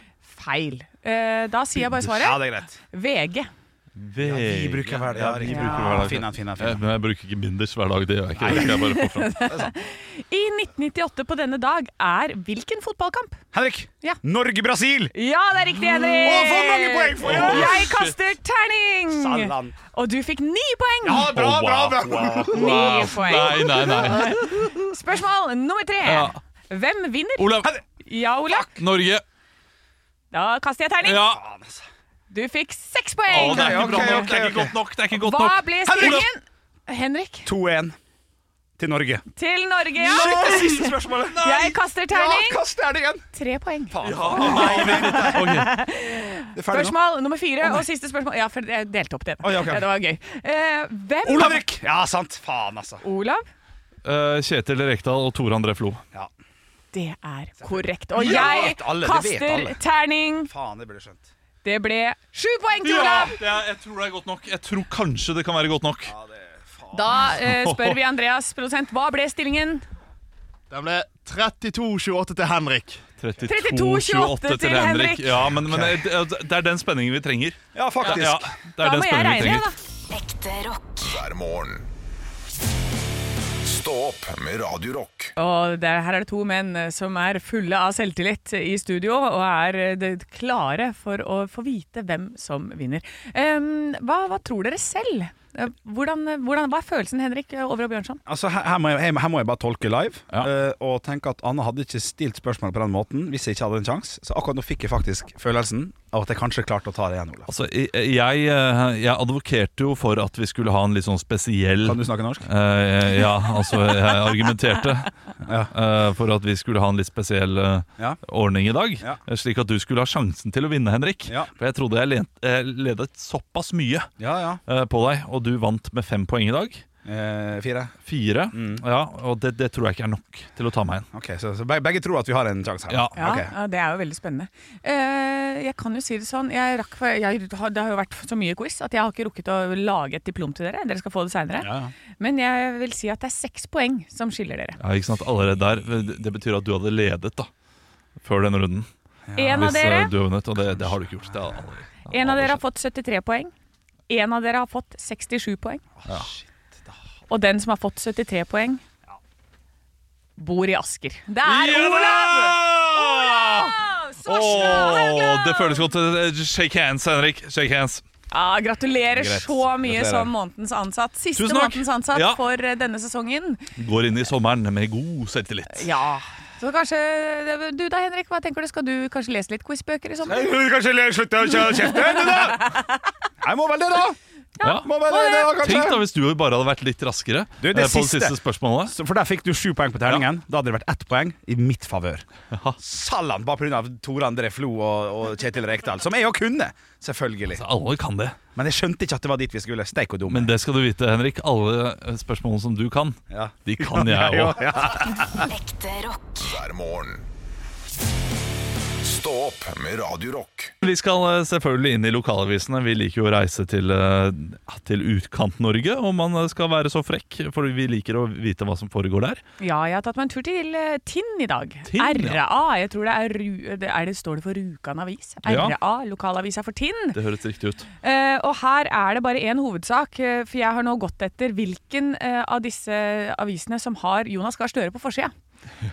S1: Feil. Eh, da sier jeg bare svaret.
S3: Ja, det er greit. Eh,
S1: VG.
S3: Vi bruker hver dag.
S2: Ja, vi bruker hver dag.
S3: Fin en, fin en, fin
S2: Eh,
S3: en.
S2: Men jeg bruker ikke binders hver dag. Det gjør jeg ikke. Det skal jeg bare få fram.
S1: I 1998 på denne dag er hvilken fotballkamp?
S3: Henrik.
S1: Ja.
S3: Norge-Brasil.
S1: Ja, det er riktig, Henrik!
S3: Å, for mange poeng får jeg!
S1: Jeg kaster terning!
S3: Satan.
S1: Og du fikk ni poeng!
S3: Ja, bra,
S2: Å,
S3: bra,
S2: wow,
S3: bra.
S2: wow,
S1: Ni
S2: wow.
S1: poeng.
S2: Nei, nei, nei.
S1: Spørsmål nummer tre.
S2: Ja.
S1: Hvem vinner?
S2: Olav.
S1: Ja, Olav.
S2: Norge.
S1: Da kaster jeg terning.
S2: Ja.
S1: Du fikk seks
S2: Å,
S1: poeng.
S2: det er ikke bra
S3: altså. Ok, ok,
S2: nok. Det er
S3: ok.
S2: ikke godt nok. Det er ikke godt
S1: Hva
S2: nok.
S1: ble
S3: Henrik!
S1: stillingen? Henrik
S3: 2-1 til Norge.
S1: til Norge, ja.
S3: det siste spørsmålet!
S1: Jeg kaster terning.
S3: kast terningen!
S1: Tre poeng.
S2: Ok.
S3: Det er ferdig nå.
S1: Spørsmål nummer fire og siste spørsmål. Ja, for jeg delte opp det. da.
S3: Oi, ok, ok.
S1: Ja, det var gøy. Eh, hvem
S3: Olav Henrik! Ja, sant. Faen, altså.
S1: Olav.
S2: Eh, Kjetil Rekdal og Tore André Flo.
S1: Det er korrekt. Og
S3: Ja,
S1: jeg
S3: det vet alle, det vet
S1: kaster
S3: alle.
S1: terning.
S3: Faen, det burde jeg skjønt.
S1: Det ble sju poeng til Olav.
S2: det er, jeg tror det er godt nok. Jeg tror kanskje det kan være godt nok.
S1: Da eh, spør vi Andreas, produsent, hva ble stillingen?
S7: Det ble 32-28 til Henrik.
S1: 32-28 til Henrik.
S2: Ja, men, men det, det er den spenningen vi trenger.
S3: Ja, faktisk.
S2: Ja, det er
S1: Da
S2: den
S1: må jeg
S2: spenningen vi
S1: regne,
S2: trenger.
S1: da.
S8: hver morgen. Stå opp med Radio Rock.
S1: Og det, her er det to menn eh, som er fulle av selvtillit i studio, og er eh, det- klare for å få vite hvem som vinner. Em, hva, hva tror dere selv? Eh, Hvordan, hvordan, hva er følelsen, Henrik eh, Overå Bjørnson?
S3: Altså, her, her, må jeg, her, her må jeg bare tolke live
S2: Ja.
S3: eh, og tenke at Anne hadde ikke stilt spørsmål på den måten hvis jeg ikke hadde en sjanse. Så akkurat nå fikk jeg faktisk følelsen av at jeg kanskje klarte å ta det igjen, Olav.
S2: Altså, jeg, jeg, eh, jeg advokerte jo for at vi skulle ha en litt sånn spesiell
S3: Kan du snakke norsk?
S2: Eh, ja, altså jeg argumenterte
S3: Ja.
S2: eh, for at vi skulle ha en litt spesiell eh,
S3: Ja.
S2: ordning i dag.
S3: Ja.
S2: eh, Slik at du skulle ha sjansen til å vinne, Henrik.
S3: Ja.
S2: For jeg trodde jeg lent- eh, ledet såpass mye
S3: Ja, ja.
S2: eh, på deg, og du vant med fem poeng i dag.
S3: Eh, fire.
S2: Fire.
S3: Mm.
S2: Ja, og det, det tror jeg ikke er nok til å ta meg igjen.
S3: Ok, Så, så begge, begge tror at vi har en sjanse her.
S2: Ja.
S1: Ja,
S3: Ok.
S1: ja, det er jo veldig spennende. Eh, jeg kan jo si det sånn, jeg rakk, for jeg har, det har jo vært så mye quiz at jeg har ikke rukket å lage et diplom til dere. Dere skal få det seinere.
S3: Ja, ja.
S1: Men jeg vil si at det er seks poeng som skiller dere.
S2: Ja, ikke sant? Allerede der. eh, Det- Det betyr at du hadde ledet da før den runden.
S1: en, av
S2: Hvis eh,
S1: dere,
S2: du vunnet, og det, det har du ikke gjort. Det har aldri.
S1: en av dere har fått 73 poeng. En av dere har fått 67 poeng. Og den som har fått 73 poeng, bor i Asker. Det er Olav! Svarstad
S2: Åh,
S1: Haugland!
S2: det føles godt. Eh, Shake hands, Henrik. Shake hands.
S1: Ja, gratulerer
S2: Greit.
S1: så mye som månedens ansatt. Siste
S2: Tusen takk.
S1: månedens ansatt
S2: Ja.
S1: for eh, denne sesongen.
S2: Går inn i sommeren med god selvtillit.
S1: Ja. Så kanskje eh, Du da, Henrik, hva tenker du? Skal du kanskje lese litt quizbøker i sommer?
S3: Kanskje jeg slutter å kjefte? Jeg må vel det, da!
S2: Ja.
S3: Må vel det, da,
S2: Tenk da
S3: kanskje.
S2: hvis du bare hadde vært litt raskere
S3: Du, det
S2: eh, på det
S3: siste.
S2: siste spørsmålet.
S3: Så- For der fikk du sju poeng på terningen. Da hadde det vært ett poeng i mitt favør. Sallan, bare pga. Tore André Flo og, og Kjetil Rekdal, som jeg jo kunne, selvfølgelig.
S2: Alle kan det.
S3: Men jeg skjønte ikke at det var dit vi skulle. Steik og dum.
S2: Men det skal du vite, Henrik. Alle eh, spørsmålene som du kan,
S3: Ja.
S2: de kan jeg òg.
S8: hver morgen. Stå opp med Radio Rock.
S2: Vi skal eh, selvfølgelig inn i lokalavisene. Vi liker jo å reise til, eh, til Utkant-Norge, om man eh, skal være så frekk. For vi liker å vite hva som foregår der.
S1: Ja, jeg har tatt meg en tur til eh, Tinn i dag.
S2: Tinn, ja.
S1: RA. Jeg tror det er, Ru- det er det Står det for Rjukan avis?
S2: Ja.
S1: RA, lokalavisa for Tinn.
S2: Det høres riktig ut.
S1: Eh, og her er det bare én hovedsak, eh, for jeg har nå gått etter hvilken eh, av disse avisene som har Jonas Gahr Støre på forsida.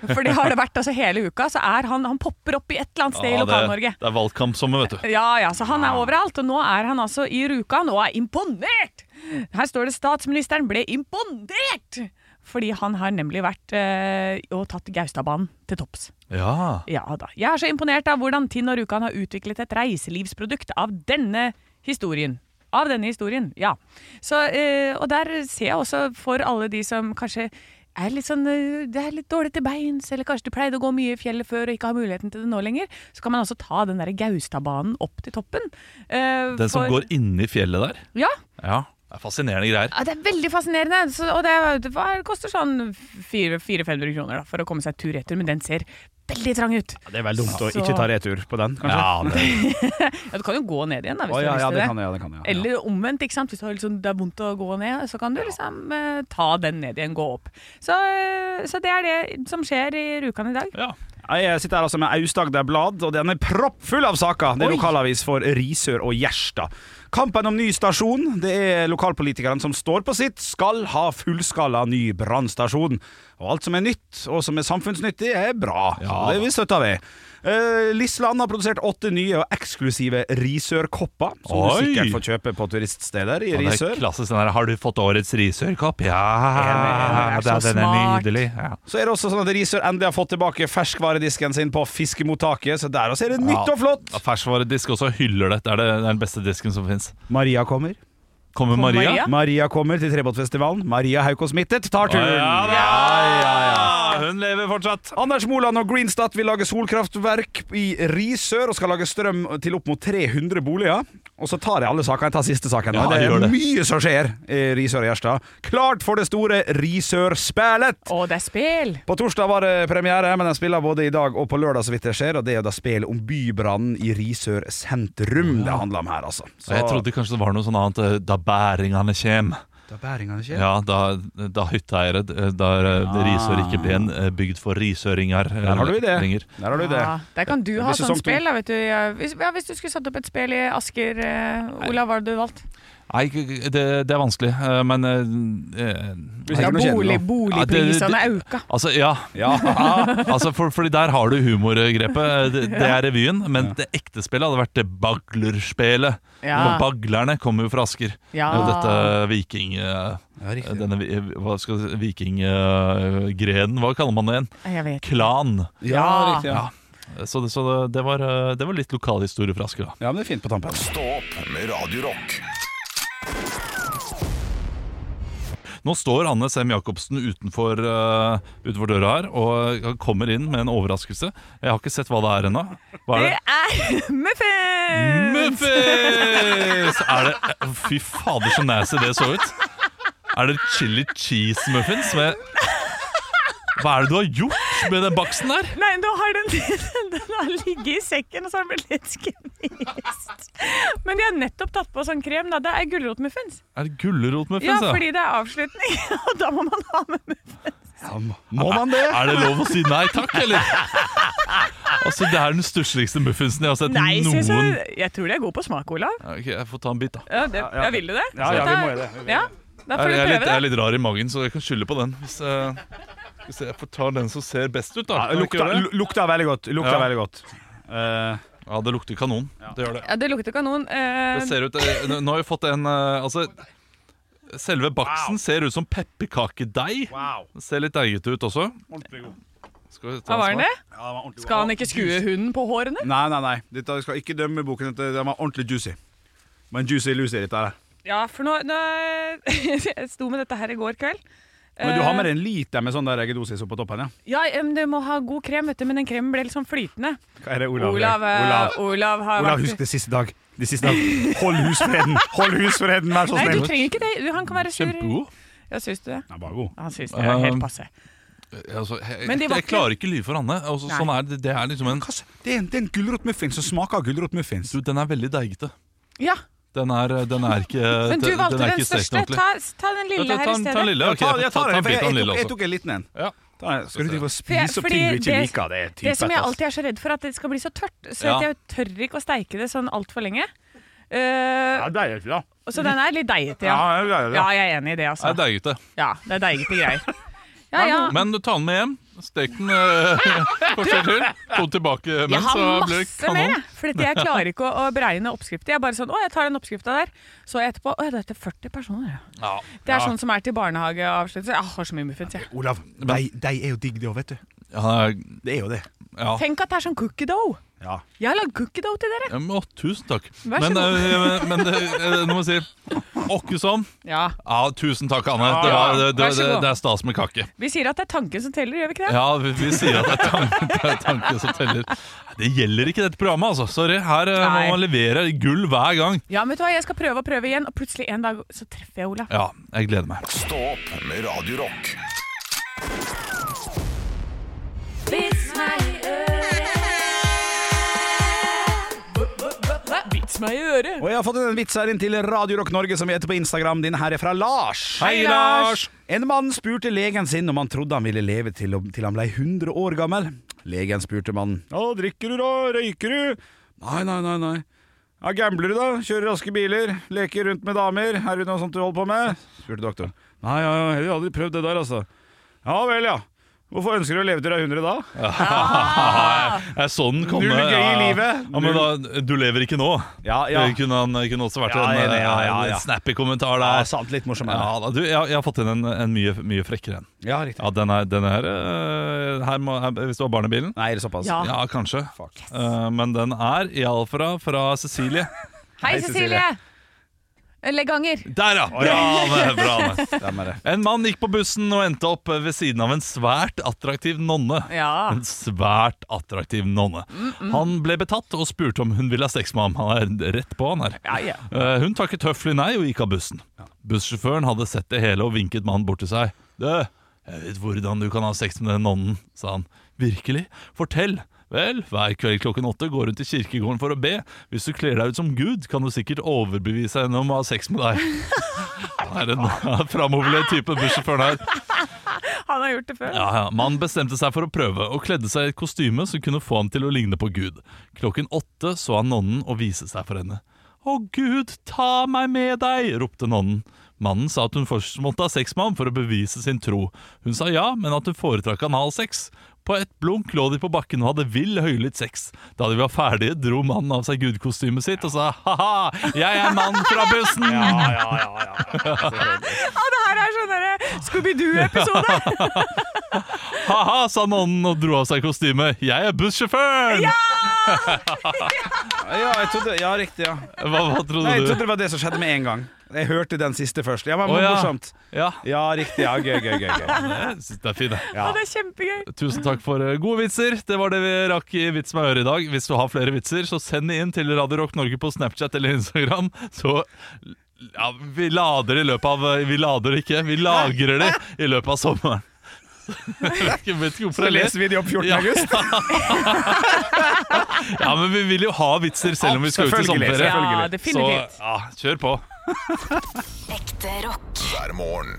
S1: For det har det vært altså hele uka. Så er han, han popper opp i et eller annet sted i
S2: Ja, det,
S1: Lokal-Norge.
S2: det er valgkampsommer, vet du.
S1: Ja, ja, så han er overalt, og nå er han altså i Rjukan og er imponert! Her står det 'Statsministeren ble imponert'! Fordi han har nemlig vært eh, og tatt Gaustadbanen til topps.
S2: Ja.
S1: Ja da. Jeg er så imponert av hvordan Tinn og Rjukan har utviklet et reiselivsprodukt av denne historien. Av denne historien, ja. Så, eh, og der ser jeg også for alle de som kanskje er litt sånn eh, Det er litt dårlig til beins, eller kanskje du pleide å gå mye i fjellet før og ikke har muligheten til det nå lenger. Så kan man også ta den derre Gaustadbanen opp til toppen. eh,
S2: Den som
S1: for-
S2: går inni fjellet der?
S1: Ja.
S2: Ja, det er fascinerende greier.
S1: Ja, det er veldig fascinerende. Så, og det, er- det var- koster sånn 400-500 kroner da, for å komme seg tur-retur, men den ser veldig trang ut.
S3: det er vel dumt
S1: å ikke ta
S3: retur på den,
S2: Ja, det,
S1: Ja, du kan jo gå ned igjen da, hvis
S3: Å,
S1: du
S3: ja,
S1: har lyst
S3: ja,
S1: til
S3: det kan jeg, ja, det kan jeg, ja.
S1: Eller omvendt, ikke sant? hvis du har liksom, det er vondt å gå ned, så kan du liksom eh, ta den ned igjen, gå opp. Så, eh, så det er det som skjer i Rjukan i dag.
S2: ja.
S3: Jeg sitter her altså med Aust-Agder Blad, og den er proppfull av saker. Det er lokalavis for Risør og Gjerstad. Kampen om ny stasjon. Det er lokalpolitikerne som står på sitt. Skal ha fullskala ny brannstasjon. Og alt som er nytt, og som er samfunnsnyttig, er bra. Ja. Det vi støtter vi. Eh, Lisland har produsert åtte nye og eksklusive Risør-kopper, som
S2: Oi.
S3: du sikkert får kjøpe på turiststeder i
S2: Og det er
S3: Risør.
S2: klassisk den der 'Har du fått årets risørkopp?' Ja,
S1: Enig, det er så
S2: den er
S1: smart.
S2: nydelig. Ja.
S3: Så er det også sånn at Risør endelig har fått tilbake ferskvaredisken sin på fiskemottaket, så der også er det nytt
S2: Ja.
S3: og flott.
S2: Ja, Ferskvaredisk også hyller det. Det er det- det er den beste disken som fins.
S3: Maria kommer.
S2: Kommer Maria?
S1: Maria?
S3: Maria kommer til Trebåtfestivalen. Maria Haukås Mittet tar turen.
S2: Ja, da!
S3: Ja, ja, ja.
S2: Hun lever fortsatt.
S3: Anders Moland og Greenstad vil lage solkraftverk i Risør og skal lage strøm til opp mot 300 boliger. Og så tar jeg alle sakene. Jeg tar siste saken. nå.
S2: Ja,
S3: det
S2: gjør
S3: er
S2: det.
S3: mye som skjer i Risør og Gjerstad. Klart for det store Risør-spelet!
S1: Og det er spel!
S3: På torsdag var det premiere, men den spiller både i dag og på lørdag, så vidt jeg ser. Og det er jo da spillet om bybrannen i Risør sentrum det handler om her, altså. Så-
S2: Og Jeg trodde kanskje det var noe sånn annet eh, 'da bæringane kjem'.
S3: Da bæringene skjer.
S2: Ja, da, da hytteeiere eh, Der eh, Risør ikke ble en eh, bygd for risøringer. eh,
S3: Der har du det.
S2: lenger.
S3: Der har du det.
S1: Ja, der kan du
S3: Det
S1: ha
S3: blir
S1: sånn
S3: sesong to.
S1: spill, da, vet du. Ja, Hvis, ja, hvis du skulle satt opp et spill i Asker, eh, Olav, hva hadde du valgt?
S2: Nei, ikke- det, det er vanskelig, eh, men eh, eh,
S1: Ja,
S6: noe kjedelig,
S1: bolig,
S6: da.
S2: Ja,
S1: boligprisene
S2: det-
S1: auka.
S2: Altså, ja. Ah, altså for, fordi der har du humorgrepet. Eh, Det, det er revyen, men det ekte spillet hadde vært det baglerspelet.
S1: Ja.
S2: Og baglerne kommer jo fra Asker.
S1: Ja.
S2: Og Dette viking... eh, denne vi- hva skal vi si, vikinggrenen, hva kaller man det igjen?
S1: Jeg vet.
S2: Klan. Eh,
S6: Ja,
S1: Ja.
S6: riktig. Ja.
S2: Så, det, så det, det, var, eh, det var litt lokalhistorie fra Asker, da.
S6: ja, men det er fint på tampen.
S8: Stå opp med Radio Rock.
S2: Nå står Anne Sem Jacobsen utenfor, eh, utenfor døra her og kommer inn med en overraskelse. Jeg har ikke sett hva det er ennå. Hva er
S1: Det
S2: det?
S1: er muffins!
S2: Muffins! Er det, fy fader, så nasty det så ut. Er det chili cheese muffins? Med, hva er det du har gjort med den baksten der?
S1: Nei, nå har den, den har ligget i sekken, og så har den blitt litt skvist. Men de har nettopp tatt på sånn krem. Da. Det er gulrotmuffins.
S2: Er det gulrotmuffins?
S1: Ja,
S2: ja?
S1: fordi det er avslutning, og da må man ha med muffins.
S3: Må man det?
S2: Er det lov å si nei takk, eller? Altså, Det er den størsteligste muffinsen jeg har sett
S1: Nei,
S2: noen
S1: synes jeg, jeg tror de er gode på smak, Olav.
S2: Ja, ok, Jeg får ta en bit, da.
S1: Ja, det, ja, vil du det?
S3: Ja, ja, vi må jo det.
S1: Ja, da får du
S2: Jeg, jeg, er litt, jeg er
S1: prøve det.
S2: litt rar i magen, så jeg kan skylde på den. Hvis jeg, hvis jeg får ta den som ser best ut, da.
S3: Ja,
S2: Kan jeg
S3: lukta,
S2: ikke gjøre det?
S3: lu- lukta veldig godt. Lukta
S2: Ja.
S3: veldig godt. Eh,
S2: Ja, det lukter kanon. Det gjør det.
S1: Ja, det lukter kanon. Eh,
S2: det ser ut, eh, nå nå har vi fått en eh, Altså, selve baksten ser ut som pepperkakedeig.
S3: wow.
S2: Den Ser litt deigete ut også.
S3: Ordentlig god.
S2: Skal vi ta
S1: hva
S2: en
S1: var den
S2: smak?
S1: det?
S3: Ja, den var ordentlig god.
S1: Skal han ikke skue hunden på hårene?
S3: Nei, nei, nei. Dette jeg skal ikke dømme boken. Dette, den var ordentlig juicy. Men juicy lucy, dette her.
S1: Ja, for nå, nå Jeg sto med dette her i går kveld.
S3: Men
S1: Eh.
S3: du har med deg en liter med sånn der eggedosis opp på toppen, ja?
S1: Ja, em, du må ha god krem, vet du, men den kremen ble litt sånn flytende.
S3: Hva er det, Olav?
S1: Olav, eh,
S3: Olav.
S1: Olav har
S3: Olav,
S1: vært-
S3: husk det siste dag. Det siste dag. Hold husfreden! Hold husfreden, vær så
S1: Nei, du
S3: snill!
S1: trenger ikke det. Du- Han kan være sur.
S2: Kjempegod.
S1: Ja, syns du det?
S3: Den var god.
S1: Han syns det er helt passe.
S2: Altså, jeg,
S1: Men
S2: jeg,
S1: de var
S2: jeg
S1: ikke-
S2: klarer ikke å lyve for Anne. Altså,
S1: Nei.
S2: sånn er det, det er liksom en
S3: Hva s- Det er en, det er en gulrotmuffins som smaker gulrotmuffins.
S2: Du, den er veldig deigete.
S1: Ja,
S2: Den er, eh, den er ikke
S1: Men du
S2: den-
S1: valgte den,
S2: er ikke stekt
S1: største.
S2: ordentlig.
S1: Ta, ta den lille
S2: Ja,
S1: her i
S2: ta, ta, ta
S1: stedet.
S2: den lille.
S3: Jeg
S2: ok.
S3: tar- jeg tar
S2: ta, ta
S3: den,
S2: en
S3: for jeg,
S2: bit av den
S3: jeg,
S2: lille
S3: tok, jeg
S2: også.
S3: tok en liten en.
S2: Ja.
S3: Ta den. Skal du drive og
S1: For jeg-
S3: spise opp
S1: fordi
S3: ting du ikke
S1: det-
S3: liker? Det er
S1: Det som
S3: typete,
S1: jeg
S3: ass.
S1: alltid er så redd for, at det skal bli så tørt. Så
S2: altså. Ja.
S1: at jeg tør ikke å steike det sånn altfor lenge. Eh,
S3: Ja, det er jo ikke det.
S1: og så den er litt deigete,
S3: Ja,
S1: ja.
S3: det er jo
S1: Ja,
S3: det.
S1: jeg er enig i det,
S2: Det
S1: altså.
S2: er deigete.
S1: Ja, det er deigete greier. Ja, ja.
S2: Men du tar den med hjem. Stek den eh, et kvarter til. Få den tilbake
S1: Jeg
S2: men,
S1: har
S2: så blir det
S1: masse mer, jeg.
S2: kanon.
S1: For dette- jeg klarer ikke å, å bregne oppskrifter. Jeg er bare sånn, å, jeg tar den oppskrifta der. Så jeg etterpå, å, det er til 40 personer, ja.
S2: Ja.
S1: Det er sånn som er til barnehageavslutning. Jeg har så mye muffins, jeg.
S3: Olav, de, de er jo digg, det òg, vet du.
S2: Ja,
S3: Det er jo det.
S2: ja.
S1: Tenk at det er sånn cookie dough.
S3: Ja.
S1: Jeg har lagd cookie dough til dere.
S2: Ja, men, å, tusen takk.
S1: Vær så
S2: men,
S1: god.
S2: eh, men det, eh, nå må jeg si åkke som.
S1: Ja,
S2: Ja, tusen takk, Anne. Det,
S1: Ja,
S2: var, det, det,
S1: vær så
S2: det,
S1: god.
S2: det er stas med kake.
S1: Vi sier at det er tanken som teller, gjør vi ikke det?
S2: Ja, vi, vi sier at det er, tanke, det er tanke som teller. Det gjelder ikke dette programmet, altså. Sorry. Her eh,
S1: Nei.
S2: må man levere gull hver gang.
S1: Ja, men vet du hva, jeg skal prøve og prøve igjen, og plutselig en dag så treffer jeg Olav.
S2: Ja, jeg gleder meg.
S8: Stå opp med Radio Rock.
S1: Vits meg i øret!
S3: Og jeg har fått en vits her inn til Radio Rock Norge, som vi heter på Instagram. Denne her er fra Lars.
S2: Hei, Lars!
S3: En mann spurte legen sin om han trodde han ville leve til, til han ble 100 år gammel. Legen spurte mannen. Ja, drikker du da? Røyker du? Nei, nei, nei, nei. Ja, Gambler du, da? Kjører raske biler? Leker rundt med damer? Er det noe sånt du holder på med? spurte doktoren. Nei, ja, ja, jeg har aldri prøvd det der, altså. Ja vel, ja. Hvorfor ønsker du å leve til du er 100 da?
S2: Jeg så den komme.
S3: Null gøy i
S2: ja, ja.
S3: livet.
S2: Ja, men da, du lever ikke nå.
S3: Ja,
S2: Det kunne, han, kunne også vært
S3: Ja,
S2: en, eh,
S3: enig, ja, ja,
S2: en
S3: ja.
S2: snappy kommentar
S3: Ja,
S2: der.
S3: sant. Litt morsommere.
S2: Ja, da, du, jeg, jeg har fått inn en, en mye, mye frekkere en.
S3: Ja, riktig.
S2: Ja, den er, den er øh, her må, her, Hvis du har barnebilen?
S3: Nei, er det såpass?
S1: Ja.
S2: Ja, kanskje. Eh, men den er i Alfra fra Cecilie.
S1: Hei,
S3: Hei,
S1: Cecilie! Eh, Eller ganger.
S2: Der, ja! Bra, Anne, bra, Anne.
S3: Stemmer det.
S2: En mann gikk på bussen og endte opp ved siden av en svært attraktiv nonne.
S1: Ja.
S2: En svært attraktiv nonne.
S3: Mm,
S2: Han ble betatt og spurte om hun ville ha sex med ham. Han er rett på, han her.
S1: Ja, ja.
S2: Eh, Hun takket høflig nei og gikk av bussen. Bussjåføren hadde sett det hele og vinket mannen bort til seg. Du, jeg vet hvordan du kan ha sex med den nonnen, sa han. Virkelig? Fortell. Vel, hver kveld klokken åtte går hun til kirkegården for å be. Hvis du kler deg ut som Gud, kan du sikkert overbevise henne om å ha sex med deg. Han er en framoverlent type, bussjåføren her.
S1: Han har gjort det før.
S2: Ja, ja. Mannen bestemte seg for å prøve og kledde seg i et kostyme som kunne få ham til å ligne på Gud. Klokken åtte så han nonnen og viste seg for henne. Å, Å Gud, ta meg med deg! ropte nonnen. Mannen sa at hun først måtte ha sex med ham for å bevise sin tro. Hun sa ja, men at hun foretrakk analsex. På ett blunk lå de på bakken og hadde vill høylytt sex. Da de var ferdige, dro mannen av seg gudkostymet sitt og sa ha-ha, jeg er mannen fra bussen!
S1: Å, det her er sånn derre Scooby-Doo-episode!
S2: Ha-ha, sa nonnen og dro av seg kostymet. Jeg er bussjåføren!
S3: Ja, jeg trodde, ja riktig, ja.
S2: Hva, hva
S3: Nei,
S2: trodde
S3: jeg
S2: du?
S3: trodde det var det som skjedde med en gang. Jeg hørte den siste først. Ja, men
S2: Å, ja.
S3: morsomt.
S2: Ja,
S3: Ja, riktig. Ja, gøy, gøy, gøy. gøy.
S2: jeg synes det er fint. jeg.
S1: Å, det er kjempegøy.
S2: Tusen takk for eh, gode vitser. Det var det vi rakk i Vits med øret i dag. Hvis du har flere vitser, så send det inn til Radio Rock Norge på Snapchat eller Instagram. Så ja, vi lader i løpet av eh, Vi lader det ikke, vi lagrer det i løpet av sommeren. Jeg vet ikke- vet ikke hvorfor
S3: Så
S2: jeg
S3: leser
S2: ler.
S3: vi det opp 14.
S2: Ja.
S3: august.
S2: Ja, men vi vil jo ha vitser selv om vi skal ut i
S3: Selvfølgelig,
S2: sommerferie.
S1: Ja,
S2: Så
S1: definitivt.
S2: ja, kjør på.
S9: Ekte rock.
S8: hver morgen.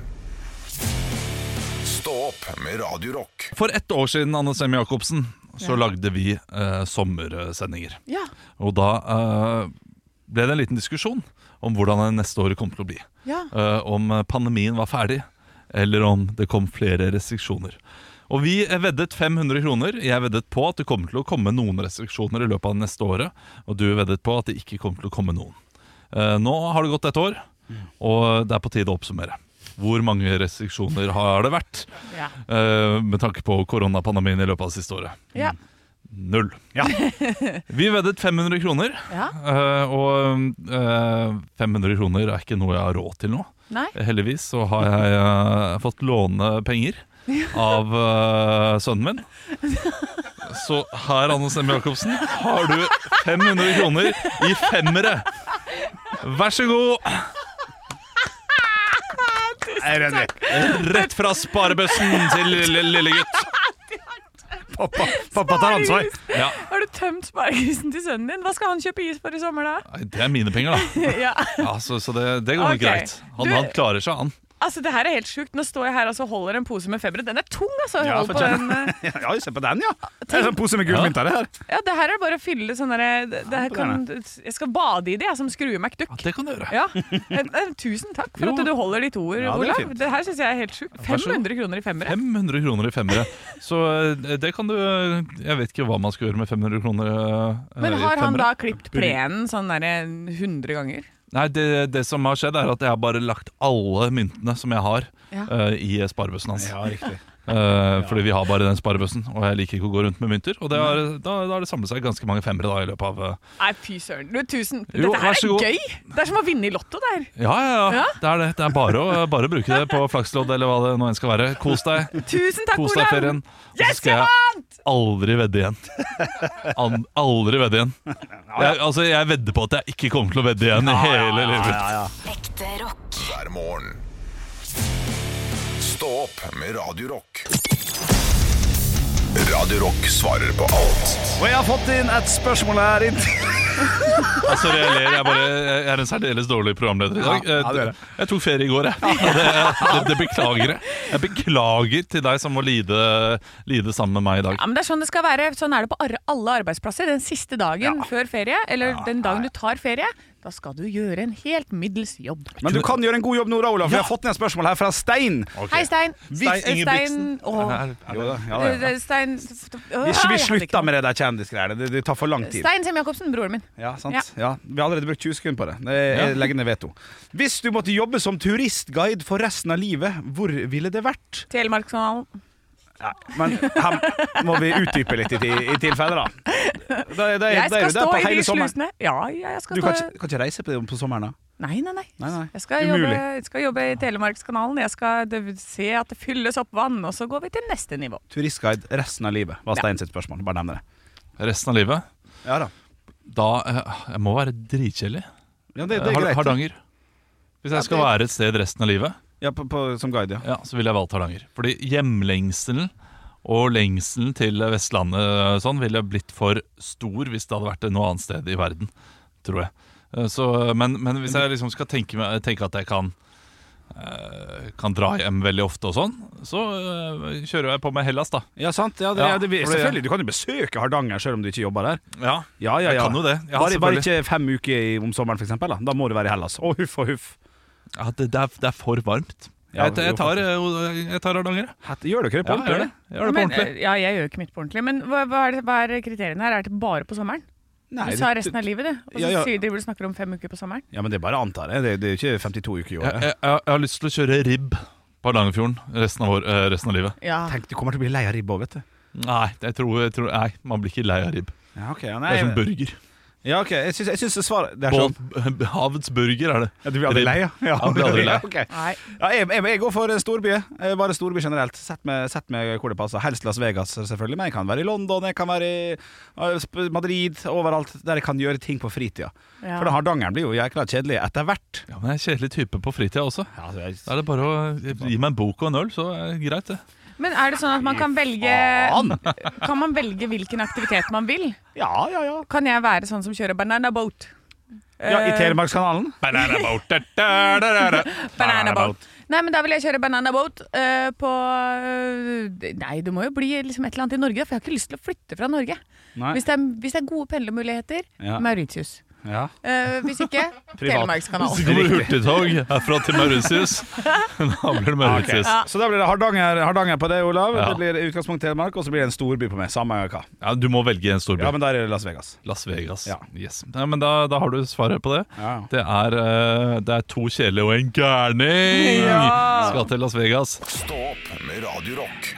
S8: Stå opp med Radio Rock.
S2: For ett år siden, Anne Sem Jacobsen, så lagde vi eh, sommersendinger.
S1: Ja.
S2: Og da eh, ble det en liten diskusjon om hvordan det neste året kom til å bli.
S1: Ja.
S2: Eh, om pandemien var ferdig, eller om det kom flere restriksjoner. Og vi veddet 500 kroner. Jeg veddet på at det kommer til å komme noen restriksjoner i løpet av det neste året, og du veddet på at det ikke kommer til å komme noen. Eh, nå har det gått et år, og det er på tide å oppsummere. Hvor mange restriksjoner har det vært
S1: Ja.
S2: eh, med tanke på koronapandemien i løpet av det siste året?
S1: Ja.
S2: Null.
S3: Ja.
S2: Vi veddet 500 kroner,
S1: Ja.
S2: eh, og eh, 500 kroner er ikke noe jeg har råd til nå.
S1: Nei.
S2: Heldigvis så har jeg eh, fått låne penger av eh, sønnen min. Så her, Anne Stemme Jacobsen, har du 500 kroner i femmere. Vær så god,
S3: Jeg er enig.
S2: rett fra sparebøssen til lille, lille gutt.
S3: Pappa, pappa tar ansvar.
S2: Ja,
S1: Har du tømt sparegrisen til sønnen din? Hva skal han kjøpe is for i sommer, da?
S2: nei, Det er mine penger, da.
S1: Ja.
S2: Ja, så, så det, det går nok
S1: Ok.
S2: greit. Han,
S1: Du-
S2: han klarer seg, han.
S1: Altså, det her er helt sjukt. Nå står jeg her og så holder en pose med febre. Den er tung, altså.
S3: Ja,
S1: Hold på
S3: fortell.
S1: den. eh.
S3: Ja, se på den, ja. Det er en sånn pose med gullmynter, det her.
S1: Ja, det her er bare å fylle sånn derre det- det her kan-
S3: imponerende.
S1: Jeg skal bade i det, jeg, som skrue McDuck.
S2: Det kan du gjøre.
S1: Ja. Eh, eh, Tusen takk for
S2: Jo.
S1: at du holder ditt ord,
S3: Ja, det er
S1: Olav.
S3: fint.
S1: Det her syns jeg er helt sjukt.
S2: Vær så god.
S1: 500 kroner i femmere.
S2: 500 kroner i femmere. Så eh, det kan du Jeg vet ikke hva man skal gjøre med 500 kroner eh,
S1: Men
S2: i
S1: har han
S2: femmere.
S1: da klipt plenen sånn derre 100 ganger?
S2: Nei, det, det som har skjedd er at jeg har bare lagt alle myntene som jeg har
S1: Ja.
S2: eh, i sparebøssen hans.
S3: Ja, riktig.
S2: Eh, Fordi vi har bare den sparebøssen, og jeg liker ikke å gå rundt med mynter. Og det har, da, da har det samlet seg ganske mange femmere da, i løpet av eh,
S1: Nei, fy søren. Du, tusen.
S2: Jo,
S1: Dette her
S2: vær så
S1: er
S2: god.
S1: gøy! Det er som å vinne i Lotto, det her.
S2: Ja, ja, ja.
S1: Ja?
S2: Det er det. Det er bare å, bare å bruke det på flakslodd eller hva det nå enn skal være. Kos deg.
S1: Tusen takk,
S2: Kos deg i
S1: Olav!
S2: ferien. Og så skal jeg aldri vedde igjen. An aldri vedde igjen. Jeg, altså, jeg vedder på at jeg ikke kommer til å vedde igjen i hele livet.
S9: Ekte rock.
S8: hver morgen. Stå opp med Radio Rock. Radio Rock svarer på alt
S3: Og jeg har fått inn et spørsmål her. inn til-
S2: Altså, jeg ler. Jeg, bare, jeg er en særdeles dårlig programleder i dag.
S3: Ja, ja, det er
S2: Jeg,
S3: det.
S2: jeg tok ferie i går, jeg. Det, det, det beklager jeg. Jeg beklager til deg som må lide, lide sammen med meg i dag.
S1: Ja, men det er sånn det skal være. Sånn er det på ar- alle arbeidsplasser. Den siste dagen før ferie, eller den dagen du tar ferie, da skal du gjøre en helt middels jobb.
S3: Men du kan gjøre en god jobb nå, da, Olav. For jeg har fått inn et spørsmål her fra Stein.
S1: Hei, Stein.
S2: Stein Ingebrigtsen.
S1: Stein, åh,
S2: Er-
S3: Jo da, ja,
S1: eh, det er Stein Åh,
S3: Vi, vi
S1: jeg hadde ikke
S3: slutter med det der kjendisgreiene. Det, det tar for lang
S1: noe.
S3: tid.
S1: Stein Sem Jacobsen, broren min.
S3: Ja, sant?
S1: Ja.
S3: Ja. Vi har allerede brukt 20 sekunder på det. Jeg jeg legger ned veto. Hvis du måtte jobbe som turistguide for resten av livet, hvor ville det vært?
S1: Telemarkskanalen.
S3: Nei, men her må vi utdype litt i, i tilfelle, da. da, da, da
S1: Jeg
S3: er
S1: skal
S3: du der
S1: stå
S3: på
S1: i
S3: hele
S1: de
S3: sommeren.
S1: slusene. Ja, ja, jeg skal
S3: Du
S1: stå
S3: kan ikke, kan ikke reise på, på sommeren, da?
S1: Nei, nei, nei.
S3: Nei, nei.
S1: Jeg skal
S3: Umulig.
S1: jobbe, jeg skal jobbe i Telemarkskanalen. Jeg skal d- se at det fylles opp vann, og så går vi til neste nivå.
S3: Turistguide resten av livet, var Stein sitt spørsmål. Bare nevne det.
S2: Resten av livet?
S3: Ja da.
S2: Da eh, Jeg må være dritkjedelig.
S3: Ja, det, det er
S2: Har-
S3: greit.
S2: Hardanger. Hvis jeg skal være et sted resten av livet,
S3: Ja, på, på, som guide, ja.
S2: ja, så ville jeg valgt Hardanger. Fordi hjemlengselen og lengselen til Vestlandet eh, sånn, ville blitt for stor hvis det hadde vært noe annet sted i eh, verden, tror jeg. Eh, Så, men, men hvis jeg liksom skal tenke, meg, tenke at jeg kan eh, kan dra hjem veldig ofte og sånn, så eh, kjører jeg på med Hellas, da.
S1: Ja, sant. Ja, det, ja, det, selvfølgelig, Du kan jo besøke Hardanger selv om du ikke jobber der.
S2: Ja,
S1: ja, ja,
S2: jeg kan jo det. Ja,
S1: bare, bare
S2: selvfølgelig.
S1: ikke fem uker i, om sommeren, for eksempel. Da. da må du være i Hellas. Å, huff og huff.
S2: Ja, det, det, er, det er for varmt.
S1: Ja,
S2: jeg, jeg, tar, eh, jeg tar Hardanger, jeg.
S1: Hette- Gjør dere det på
S2: Ja, jeg
S1: ordentlig?
S2: gjør det. Jeg gjør det på
S6: men,
S2: ordentlig.
S6: eh, ja, jeg gjør jo ikke mitt på ordentlig. Men hva, hva, er, det, hva er kriteriene her? Er det bare på sommeren?
S1: Nei,
S6: du sa
S1: det-
S6: resten av livet, du. Og så
S1: Ja, ja.
S6: sier- driver du og snakker om fem uker på sommeren.
S1: Ja, men det er bare antar jeg. Det, det er jo ikke 52 uker i
S2: Jeg,
S1: året.
S2: jeg, jeg har lyst til å kjøre ribb på Hardangerfjorden resten, av år- eh, resten av livet.
S6: Ja.
S1: Tenk, du kommer til å bli lei av ribba, vet du.
S2: Nei, jeg tror, jeg tror, nei, man blir ikke lei av ribb.
S1: Ja, ok.
S2: Det er som burger.
S1: Ja, ok. Jeg syns, jeg syns det svaret det er sånn.
S2: Bål, havets burger er det.
S1: Ja, du blir aldri
S2: Ribb.
S1: lei, ja? Ja,
S2: Ja, blir aldri lei.
S1: ok.
S6: Nei.
S1: Ja, jeg, jeg, jeg går for storby. Eh, Bare storby generelt. Sett meg, sett meg hvor det passer. Helst Las Vegas, selvfølgelig. Men jeg kan være i London, jeg kan være i eh, Sp- Madrid, overalt. Der jeg kan gjøre ting på fritida.
S6: Ja.
S1: For da Hardangeren blir jo jækla kjedelig etter hvert.
S2: Ja, men jeg er en kjedelig type på fritida også.
S1: Ja, altså, det er-
S2: Da er det bare å gi meg en bok og en øl, så er det greit, det.
S6: Men er det sånn at man kan velge
S1: Faen!
S6: Kan man velge hvilken aktivitet man vil?
S1: ja, ja. ja.
S6: Kan jeg være sånn som kjører banana boat?
S1: ja I
S6: Eh,
S1: Telemarkskanalen.
S6: Banana boat. Nei, men da vil jeg kjøre banana boat eh, på eh, Nei, det må jo bli liksom et eller annet i Norge, for jeg har ikke lyst til å flytte fra Norge.
S1: Nei.
S6: Hvis det, er, hvis det er gode pendlermuligheter,
S1: Ja.
S6: Mauritius.
S1: Ja.
S6: Eh, hvis ikke, Telemarkskanalen.
S2: Så kommer hurtigtog herfra til Mauritius. Da blir det Mauritius.
S6: Ja.
S1: Så da blir det Hardanger, Hardanger på deg, Olav.
S2: Ja.
S1: Det blir i utgangspunkt Telemark, og så blir det en storby på meg. Samme hva.
S2: Ja, du må velge en storby.
S1: Ja, men der er det Las Vegas.
S2: Las Vegas.
S1: Ja.
S2: Yes. Nei, men da, da har du svaret på det.
S1: Ja.
S2: Det er, eh, det er to kjedelige og en gærning! Skal til Las Vegas.
S8: Stå opp med Radio Rock.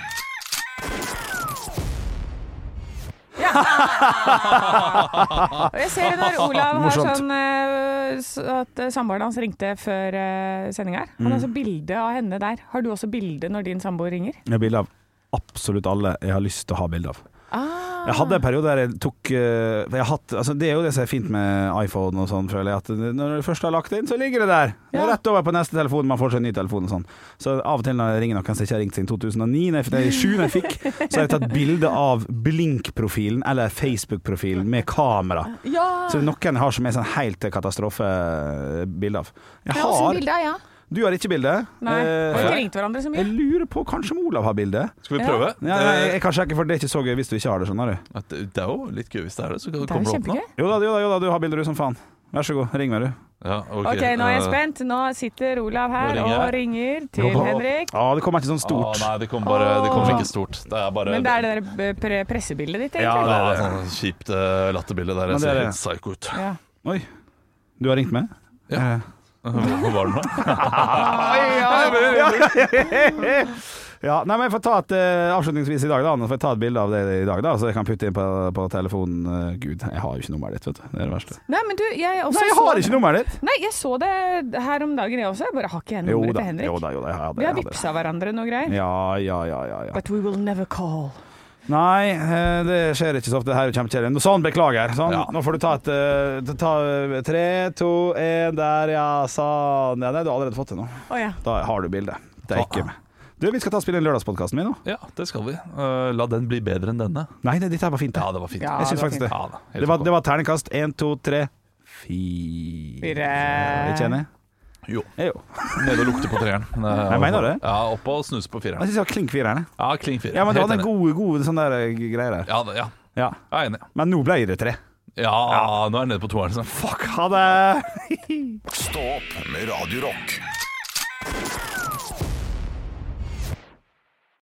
S6: Og jeg ser når Olav har sånn eh, s- at eh, samboeren hans ringte før uh, sendinga her. Han
S3: Mm.
S6: har også bilde av henne der. Har du også bilde når din samboer ringer?
S3: Jeg har bilde av absolutt alle jeg har lyst til å ha bilde av. Jeg hadde en periode der jeg tok eh, for jeg har hatt, altså Det er jo det som er fint med iPhone og sånn, føler jeg. At når du først har lagt det inn, så ligger det der. Det er Rett over på neste telefon. Man får seg en ny telefon og sånn. Så av og til når jeg ringer noen som ikke har ringt siden 2009, nei, for det er sju jeg fikk, så har jeg tatt bilde av Blink-profilen eller Facebook-profilen med kamera.
S6: Ja!
S3: Så det er noen jeg har som er sånn helt katastrofe-bilde av. Jeg har,
S6: bilde av, ja.
S3: du har ikke bilde.
S6: Nei,
S3: Eh,
S6: har ikke ringt hverandre så
S3: jeg
S6: mye.
S3: lurer på Kanskje om Olav har bilde?
S2: Skal vi
S6: Ja.
S2: prøve?
S3: Ja, nei, jeg kan sjekke, for det er ikke så gøy hvis du ikke har det. skjønner du
S2: At Det, det er jo litt gøy hvis det er det. Så
S6: Det er
S2: kommer
S6: jo
S2: det opp nå.
S6: kjempegøy.
S3: Jo da, jo da, jo da du har bilder du som faen. Vær så god, ring meg, du.
S2: Ja, ok,
S6: Ok, nå er jeg
S2: eh,
S6: spent. Nå sitter Olav her
S2: Nå ringer jeg.
S6: og ringer til
S3: Jobba.
S6: Henrik.
S3: Ja, det kommer ikke sånn
S2: Å,
S3: stort.
S2: nei, det kommer bare det kommer ikke stort. Det er bare
S6: Men det er det der b- pre- pressebildet ditt,
S2: Ja,
S6: egentlig.
S2: det er sånn kjipt uh, latterbilde der.
S3: Men
S2: Jeg
S3: det er
S2: ser
S3: det.
S2: helt psycho ut.
S6: Ja.
S3: Oi. Du har ringt meg?
S2: Ja.
S3: Eh,
S2: Hvor var den da?
S3: ja. Nei, men jeg får ta et eh, avslutningsvis i dag, da. Nå får jeg ta et bilde av det i dag, da, så jeg kan putte inn på, på telefonen. Eh, Gud, jeg har jo ikke nummeret ditt, vet du. Det er det verste.
S6: Nei, men du, jeg også
S3: Nei, jeg har ikke nummeret ditt!
S6: Nei, jeg så det her om dagen, jeg også. Jeg bare har ikke
S3: Jo
S6: nummeret
S3: da, jo
S6: til Henrik.
S3: da, jo da, jeg har det.
S6: Vi har
S3: jeg har det.
S6: vippsa hverandre noe greier.
S3: Ja, ja, ja, ja. ja.
S6: But we will never call.
S3: Nei, eh, det skjer ikke så ofte. Det her er kjempekjedelig. Nå- Sånn, beklager. Sånn.
S2: Ja.
S3: Nå får du ta et eh, ta, eh, Tre, to, én, der, ja, sånn. Ja, nei, du har allerede fått det nå.
S6: Å ja.
S3: Da har du bildet. Det er
S2: Ta-
S3: ikke med. Du, vi skal ta og spille inn lørdagspodkasten min nå.
S2: Ja, det skal vi. Eh, la den bli bedre enn denne.
S3: Nei, nei, dette her var fint.
S2: Ja, det var fint.
S6: Ja,
S3: jeg syns
S6: det var
S3: faktisk det.
S2: Ja, da, helt
S3: Det var,
S2: ok.
S3: det var terningkast én, to, tre, fire
S6: Fire.
S3: Ikke enig?
S2: Jo.
S3: Eh, Jo.
S2: Nede og lukte på treeren.
S3: Jeg mener det.
S2: Ja, Oppe og snuse på
S3: Jeg
S2: fireren.
S3: syns det var klink fire. her, jeg.
S2: Ja, kling fire.
S3: Ja, men det
S2: Helt
S3: var den
S2: enig.
S3: gode, gode sånn der eh, greier der.
S2: Ja, det- ja,
S3: Ja.
S2: jeg er enig.
S3: Men nå ble det tre.
S2: Ja, nå er jeg nede på toeren. Liksom.
S3: Fuck, ha det!
S8: Stå opp med Radio Rock.